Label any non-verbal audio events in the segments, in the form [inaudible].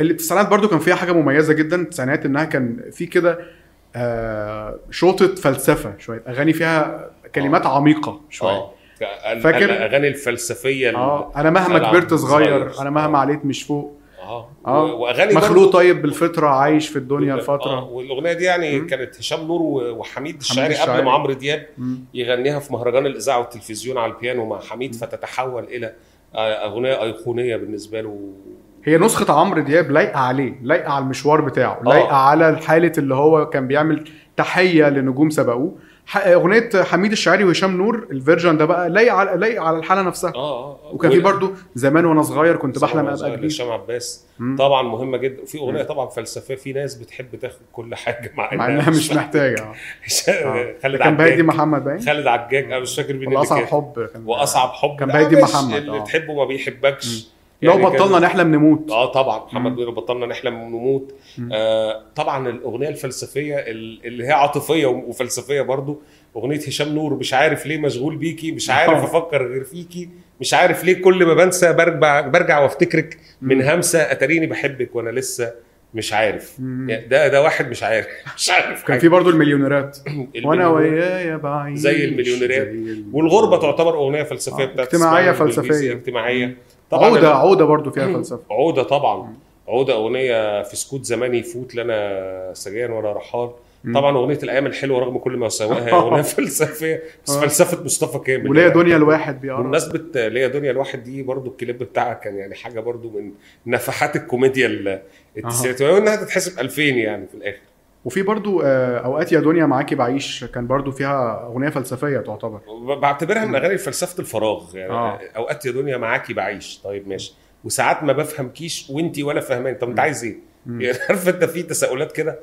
التسعينات برضو كان فيها حاجه مميزه جدا التسعينات انها كان في كده آه شوطه فلسفه شويه اغاني فيها كلمات عميقه شويه آه. ال- فاكر- الاغاني الفلسفيه ال- اه انا مهما سلام. كبرت صغير صغير. انا مهما عليت مش فوق اه آه. و- واغاني مخلوق برضو- طيب بالفطره عايش في الدنيا آه. الفتره والاغنيه دي يعني مم. كانت هشام نور و- وحميد الشاعري الشاعري. قبل ما عمرو دياب مم. يغنيها في مهرجان الاذاعه والتلفزيون على البيانو مع حميد فتتحول الى آه، اغنيه ايقونيه بالنسبه له هي نسخه عمرو دياب لايقه عليه لايقه على المشوار بتاعه آه. لايقه على الحاله اللي هو كان بيعمل تحيه لنجوم سبقوه ح- اغنيه حميد الشاعري وهشام نور الفيرجن ده بقى لايق على لايق على الحاله نفسها اه اه وكان في برضو زمان وانا صغير كنت بحلم ابقى كبير هشام عباس مم. طبعا مهمه جدا وفي اغنيه مم. طبعا فلسفيه في ناس بتحب تاخد كل حاجه مع مع [laughs] انها مش محتاجه آه. آه. خالد كان بهادي عجاج محمد باين خالد عجاج انا مش فاكر ولا مين اللي اصعب كان حب كان واصعب حب كان لا، بهادي ماشي، محمد، اللي آه. تحبه ما بيحبكش لو يعني كان- بطلنا نحلم نموت اه طبعا محمد مم. بيقول بطلنا نحلم ونموت مم. آه طبعا الاغنيه الفلسفيه ال- اللي هي عاطفيه و- وفلسفيه برضو اغنيه هشام نور مش عارف ليه مشغول [laughs] بيكي مش عارف آه. افكر غير فيكي مش عارف ليه كل ما بنسى برجع برجع وافتكرك من همسه اتريني بحبك وانا لسه مش عارف مم. يعني ده ده واحد مش عارف [laughs] مش عارف كان حاجة. في برضو المليونيرات المليونير- وانا ويايا بعيد زي المليونيرات. والغربه تعتبر اغنيه فلسفيه آه، بتاعت اجتماعية اسماعيل بالجيزي، فلسفية. اجتماعيه عوده ال- عوده برضو [clears throat] فيها فلسفه عودة طبعا مم. عودة أغنية في سكوت زمان يفوت لنا سجاير وأنا رحال مم. طبعا أغنية الأيام الحلوة رغم كل ما [laughs] سواها هي أغنية فلسفية بس آه. فلسفة مصطفى كامل وليا يعني. دنيا الواحد بيقرا بمناسبة ليا دنيا الواحد دي برضو الكليب بتاعها كان يعني حاجة برضو من نفحات الكوميديا ال- التسعينات وإنها تتحسب 2000 يعني في الآخر وفي برضو آه، اوقات يا دنيا معاكي بعيش كان برضو فيها اغنيه فلسفيه تعتبر [laughs] ب- بعتبرها من أغاني فلسفة الفراغ يعني آه. أوقات يا دنيا معاكي بعيش طيب ماشي وساعات ما بفهمكيش وانتي ولا فاهماني طب انت مم. عايز ايه؟ مم. يعني [laughs] عارف انت في تساؤلات كده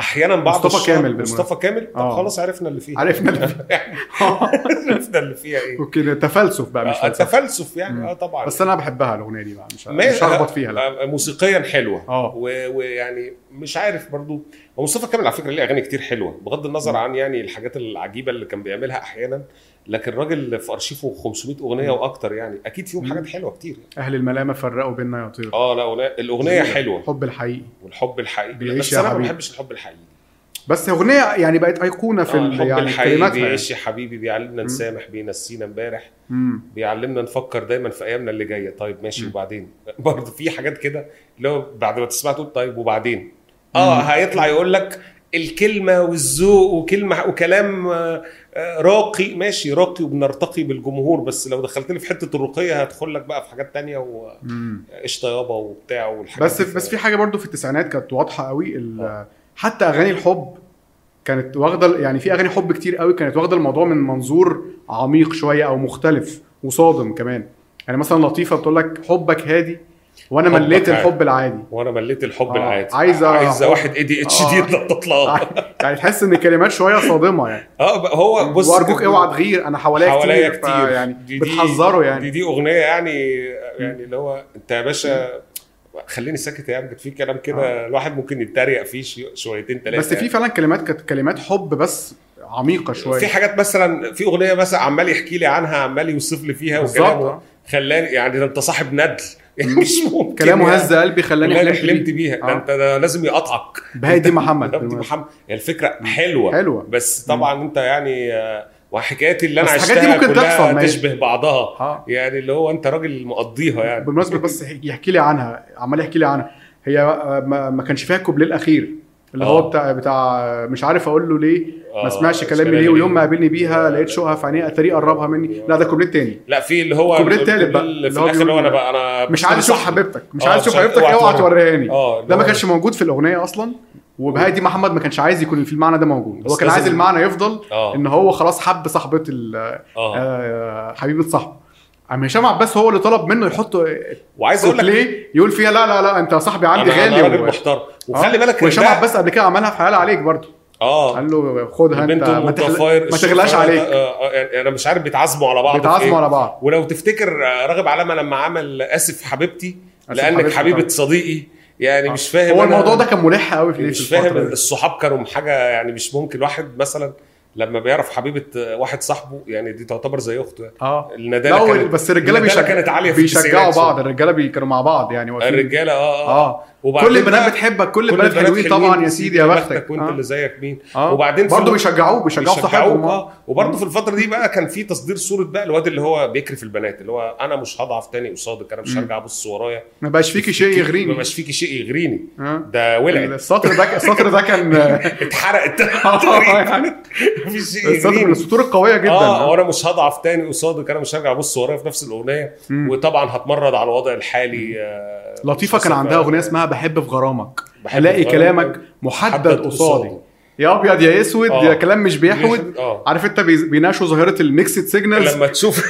احيانا بعض مصطفى الشعراء- كامل بالمناسبة. مصطفى كامل طب آه. خلاص عرفنا اللي فيها عرفنا اللي [laughs] فيها [laughs] عرفنا اللي فيها ايه اوكي ده تفلسف بقى مش آه، فلسفه تفلسف يعني مم. اه طبعا بس انا بحبها الاغنيه دي بقى مش ما- مش هخبط فيها لا آه، موسيقيا حلوه آه. و- ويعني مش عارف برضو هو مصطفى كامل على فكره ليه اغاني كتير حلوه بغض النظر مم. عن يعني الحاجات العجيبه اللي كان بيعملها احيانا لكن الراجل في ارشيفه 500 اغنيه مم. واكتر يعني اكيد فيهم مم. حاجات حلوه كتير اهل الملامه فرقوا بينا يا طير اه لا أغنية- الاغنيه جميلة. حلوه حب الحقيقي والحب الحقيقي بيعيش بس يا انا ما حبيبي. بحبش الحب الحقيقي بس اغنيه يعني بقت ايقونه في آه، ال- الحب يعني الحقيقي كلماتها يعني. بيعيش يا حبيبي بيعلمنا نسامح بينسينا امبارح مم. بيعلمنا نفكر دايما في ايامنا اللي جايه طيب ماشي مم. وبعدين [laughs] برضه في حاجات كده اللي هو بعد ما تسمعها تقول طيب وبعدين اه مم. هيطلع يقول لك الكلمه والذوق وكلمه وكلام آه، آه، راقي ماشي راقي وبنرتقي بالجمهور بس لو دخلت لي في حته الرقيه هدخل لك بقى في حاجات تانية مم. وقشطه يابا وبتاع والحاجات بس دي. بس في حاجه برضو في التسعينات كانت واضحه قوي ال- آه. حتى اغاني الحب كانت واخده ال- يعني في اغاني حب كتير قوي كانت واخده الموضوع من منظور عميق شويه او مختلف وصادم كمان يعني مثلا لطيفه بتقول لك حبك هادي وانا حبك مليت عادي. الحب العادي [laughs] وانا مليت الحب آه، العادي عايزة- عايزه واحد اي دي اتش آه. دي تطلع يعني تحس ان الكلمات شويه صادمه يعني اه بقى هو بص وارجوك اوعى تغير انا حواليا حواليا كتير, اه، كتير يعني دي- دي- بتحذره دي يعني دي اغنيه يعني يعني اللي هو انت يا باشا خليني ساكت يا عم في كلام كده الواحد ممكن يتريق فيه شي- شويتين ثلاثه اه. بس في فعلا كلمات كانت كلمات حب بس عميقه شويه يعني. في حاجات مثلا في اغنيه مثلا عمال يحكي لي عنها عمال يوصف لي فيها وكلامه بالظبط خلاني يعني ده انت صاحب ندل [laughs] يعني مش ممكن كلامه يعني. هز قلبي خلاني والله حلمت حلمت بيه. بيها ده آه. انت ده [laughs] لازم يقطعك بهادي محمد ده بالمناسبة. محمد يعني الفكره حلوه حلوة بس طبعا انت يعني آه، وحكاياتي اللي انا بس الحاجات دي عشتها ممكن تحصل، كلها ماشي. تشبه بعضها اه يعني اللي هو انت راجل مقضيها يعني بالمناسبه بس يحكي لي عنها عمال يحكي لي عنها هي آه، ما ما كانش فيها الكوبليه الاخير اللي آه. هو بتاع بتاع آه، مش عارف اقول له ليه آه، ما سمعش مش كلامي كلامي ليه ليه. آه. ويوم ما قابلني بيها لقيت شوقها في عينيها اتاري قربها مني لا ده كوبليه تاني لا في اللي هو الكوبليه التالت بقى، اللي اللي في هو الاخر اللي هو انا بيقول- بقى انا مش عايز اشوف بصراحة- حبيبتك مش آه، عايز مش اشوف عايز- حبيبتك اوعى اوعى توريها. توريهاني اه اللي ده ما هو- كانش موجود في الاغنيه اصلا وبهادي محمد ما كانش عايز يكون في المعنى ده موجود بس هو كان عايز لازم- المعنى يفضل اه ان هو خلاص حب صاحبه ال- اه آه، حبيبه صاحبه عم هشام عباس هو اللي طلب منه يحط وعايز اقول صوت لك ليه يقول فيها لا لا لا انت صاحبي عندي انا غالي أنا راجل و- محترم آه. وخلي بالك وهشام ده- عباس قبل كده عملها في حلال عليك برضه اه قال له خدها انت البنت ما, ام تحل... الضفاير ما تغلاش الشوفان ده، عليك آه، آه، يعني انا مش عارف بيتعزموا على بعض في إيه. بيتعاظموا على بعض ولو تفتكر آه، راغب علامه لما عمل اسف حبيبتي آسف لانك حبيبتي حبيبه طبعا. صديقي يعني آه. مش فاهم هو أنا- الموضوع ده كان ملح قوي في مش في الفترة فاهم دي. الصحاب كانوا حاجه يعني مش ممكن واحد مثلا لما بيعرف حبيبه واحد صاحبه يعني دي تعتبر زي اخته يعني. اه لا الندالة هو- كانت بس الرجاله الرجالة بيشجع كانت عالية في بيشجعوا التسعينات بعض الرجاله بي- كانوا مع بعض يعني واقفين. الرجاله اه اه, اه كل البنات بتحبك كل البنات حلوين طبعا يا سيدي يا بختك وانت آه. اللي زيك مين اه وبعدين في برضه الوقت- بيشجعوه بيشجعوا صاحبهم بيشجعوه اه اه وبرضه في الفتره دي بقى كان في تصدير صوره بقى الواد اللي هو بيكرف البنات اللي هو انا مش هضعف تاني قصادك انا مش مم. هرجع ابص ورايا ما بقاش فيكي شيء ما يغريني بقاش فيكي شيء يغريني اه [laughs] ده ولع السطر ده السطر ده كان [laughs] اتحرقت طيب. اه يعني مفيش شيء السطر من يغريني السطور القويه جدا اه وانا مش هضعف تاني قصادك انا مش هرجع ابص ورايا في نفس الاغنيه مم. وطبعا هتمرد على الوضع الحالي آه، لطيفه مش كان هسيبها. عندها اغنيه اسمها بحب في غرامك بحب الاقي الغرام. كلامك محدد قصادي يا ابيض يا اسود اه. يا كلام مش بيحود [laughs] اه عارف انت بي- بيناقشوا ظاهره الميكسد [laughs] سيجنالز لما تشوف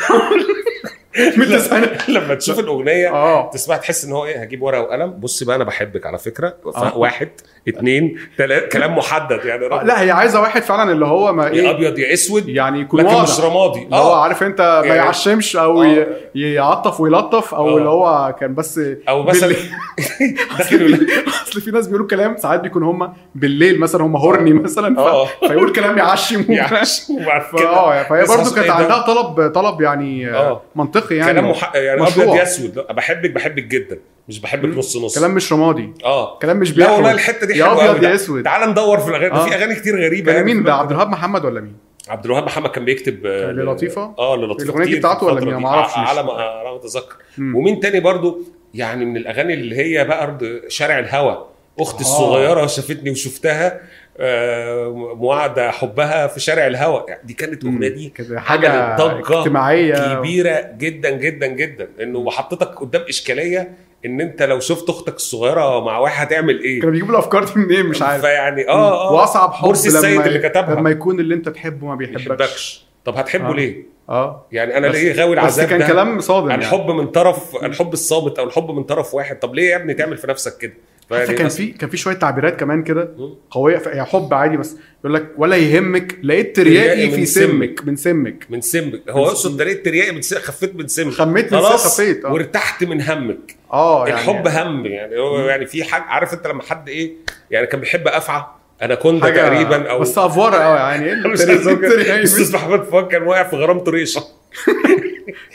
من التسعينات [laughs] لما تشوف الاغنيه اه تسمع تحس ان هو ايه هجيب ورقه وقلم بص بقى انا بحبك على فكره ف- آه. واحد اتنين تلاته كلام محدد يعني آه، راجل لا هي عايزه واحد فعلا اللي هو ما يا ايه ابيض يا اسود يعني يكون لكن مش واضح رمادي اللي هو اه عارف انت ما يعني- يعشمش او آه. ي- يعطف ويلطف آه. او اللي هو كان بس او مثلا بالليل. داخل [laughs] يقول- اصل في ناس بيقولوا كلام ساعات بيكون هم بالليل مثلا هم هورني مثلا ف... [laughs] اه فيقول كلام [laughs] يعشم يعش وبعد فا- كده اه فهي بس برضو حصل كانت إيه ده؟ عندها طلب طلب يعني آه، آه. منطقي يعني كلام مح... يعني مشروع. ابيض يا اسود لا، بحبك بحبك جدا مش بحبك مم. نص نص كلام مش رمادي اه كلام مش لا بيحوي والله الحته دي يا حلوه ابيض يا قوي اسود تعال ندور في الاغاني ده آه. في اغاني كتير غريبه كان يعني مين في ده الوقت عبد الوهاب محمد ولا مين؟ عبد الوهاب محمد كان بيكتب آه، كان للطيفة؟ اه للطيفه الأغنية دي كتير بتاعته ولا الفترة مين؟ دي. ما أعرفش. ع- على ما آه، على ما اتذكر مم. ومين تاني برضو يعني من الاغاني اللي هي بقى أرض- شارع الهوى اختي آه. الصغيره شافتني وشفتها آه، موعد حبها في شارع الهوى يعني دي كانت الاغنيه دي كده حاجة حاجه ضجة اجتماعيه كبيره جدا جدا جدا انه وحطتك قدام اشكاليه ان انت لو شفت اختك الصغيره مع واحد هتعمل ايه كانوا بيجيبوا الافكار دي منين مش عارف فيعني اه اه واصعب حب مرسي السيد اللي كتبها. لما يكون اللي انت تحبه ما ما بيحبكش بيحبكش طب هتحبه آه. ليه اه يعني انا بس- ليه غاوي بس العذاب كان ده كلام صادم يعني. الحب من طرف الحب الصامت او الحب من طرف واحد طب ليه يا ابني تعمل في نفسك كده يعني حتى فيعني كان أصل- في كان في شويه تعبيرات كمان كده طيب مم. قويه ف- هي حب عادي بس يقول لك ولا يهمك لقيت ترياقي ترياقي من في سمك من سمك من سمك هو من يقصد ده ليه تريقي من سمك خفيت من سمك خميت من سمك، خلاص خفيت اه وارتحت من همك اه يعني الحب هم يعني هو مم. يعني في حاجه عارف انت لما حد ايه يعني كان بيحب افعى انا كنت حاجة تقريبا او بس افوره اه يعني ايه [laughs] [laughs] مش الترياقي- عايز أقول كده. الترياقي [laughs] استاذ محمد فؤاد كان واقع في غرامته ريشه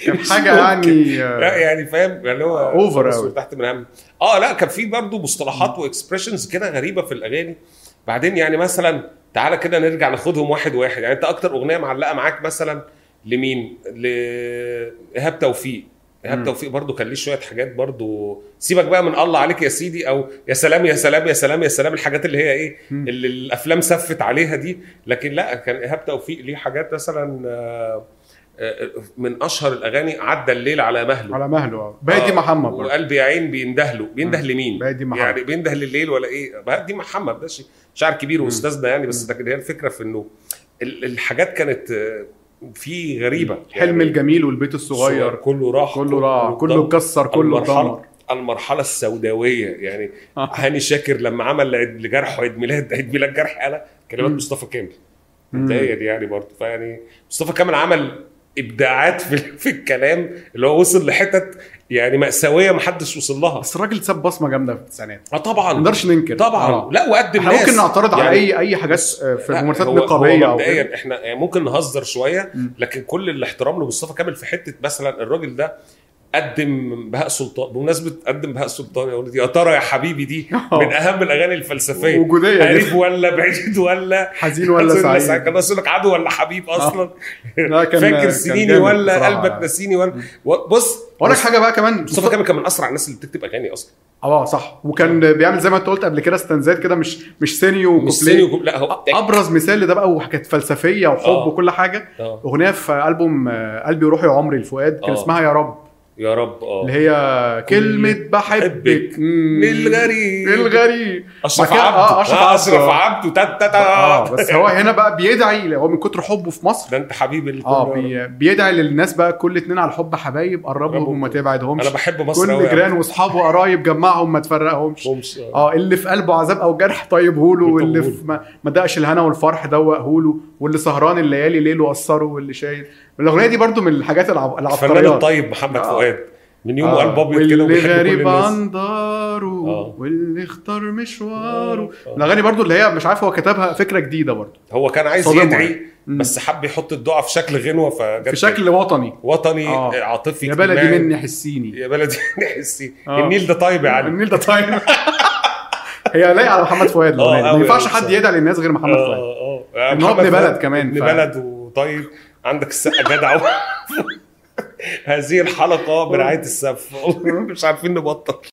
كان حاجه يعني لا آه، يعني فاهم يعني هو أوفر خلاص أوي. تحت من هم اه لا كان في برضه مصطلحات واكسبريشنز كده غريبه في الاغاني بعدين يعني مثلا تعالى كده نرجع ناخدهم واحد واحد يعني انت اكتر اغنيه معلقه معاك مثلا لمين؟ لايهاب توفيق مم. ايهاب توفيق برضه كان ليه شويه حاجات برضه سيبك بقى من الله عليك يا سيدي او يا سلام يا سلام يا سلام يا سلام الحاجات اللي هي ايه مم. اللي الافلام سفت عليها دي لكن لا كان ايهاب توفيق ليه حاجات مثلا آه، آه، من اشهر الاغاني عدى الليل على مهله على مهله اه بادي آه، محمد برضه وقلبي يا عين بينده له بينده مم. لمين بادي محمد. يعني بينده لليل ولا ايه بهدي محمد ده شيء شعر كبير مم. واستاذنا يعني بس لكن هي الفكره في انه ال- الحاجات كانت آه، في غريبه حلم يعني الجميل والبيت الصغير الصغير كله راح كله راح كله اتدمر. اتكسر كله المرحله اتدمر المرحله السوداويه يعني آه. هاني شاكر لما عمل لعيد- لجرحه عيد ميلاد عيد ميلاد جرح انا كلمات مم. مصطفى كامل مم. متخيل يعني برضه فيعني مصطفى كامل عمل ابداعات في, في الكلام اللي هو وصل لحتت يعني مأساويه محدش وصل لها بس الراجل ساب بصمه جامده في التسعينات اه ما طبعا نقدرش ننكر طبعا آه. لا وقدم احنا ناس ممكن نعترض على يعني- اي اي حاجات آه، في لا، ممارسات هو- هو نقابيه او كده. [laughs] مبدئيا احنا يعني ممكن نهزر شويه مم. لكن كل الاحترام لمصطفى كامل في حته مثلا الراجل ده قدم بهاء سلطان بمناسبه قدم بهاء سلطان يا ولدي يا ترى يا [laughs] حبيبي دي آه. من اهم الاغاني الفلسفيه وجوديه قريب جدا. ولا بعيد ولا حزين [laughs] ولا سعيد آه. كان يقول لك عدو ولا حبيب اصلا لا، كان- فاكر كان سنيني جامد ولا بصراحة. قلبك نسيني ولا مم. و- بص اقول لك حاجه بقى كمان مصطفى كامل كان من اسرع الناس اللي بتكتب اغاني اصلا اه صح وكان بيعمل زي ما انت قلت قبل كده استنزات كده مش مش سيني مش وكوبليه سيني وجو- لا هو ابرز مثال لده بقى وكانت فلسفيه وحب آه. وكل حاجه آه. اغنيه في البوم آه، قلبي وروحي وعمري لفؤاد كان آه. اسمها يا رب يا رب اه اللي هي كلمه بحبك بحبك. مم. الغريب الغريب اشرف بعد كده- عبده آه، أشرف عبده. اشرف عبده تا تا اه تا بس هو هنا بقى بيدعي هو من كتر حبه في مصر [laughs] ده انت حبيبي الكل. اه بي- بيدعي للناس بقى كل اتنين على الحب حبايب قربهم قربهم. وما تبعدهمش انا بحب مصر كل قوي جيران واصحابه قرايب جمعهم ما تفرقهمش اه اه اللي في قلبه عذاب او جرح طيبه له واللي طيبهوله. في ما ما دقش الهنا والفرح دوقه له واللي سهران الليالي ليله قصره واللي شايل الاغنيه دي برضو من الحاجات العب... الفنان العبقريات الطيب محمد آه. فؤاد من طيب، يوم آه، قلب ابيض واللي كده وبيحب كل غريب الناس. عن داره آه. واللي اختار مشواره آه. الاغاني برضو اللي هي مش عارف هو كتبها فكره جديده برضو هو كان عايز صدمة. يدعي مم. بس حب يحط الدعاء في شكل غنوه فجت في شكل وطني وطني آه. آه. عاطفي يا بلدي اجتماعي. مني حسيني يا بلدي [laughs] نحسي آه. النيل ده طيب يا علي النيل ده طيب [laughs] هي لايقه على محمد فؤاد آه، الأغنية دي. ما أوي، ينفعش أوي حد بصراحة. يدعي للناس غير محمد فؤاد اه اه إن هو محمد يعني. ابن بلد فؤاد كمان، ابن ف- بلد وطيب عندك السقا جدع [laughs] هذه الحلقه برعايه السقف [laughs] مش عارفين نبطل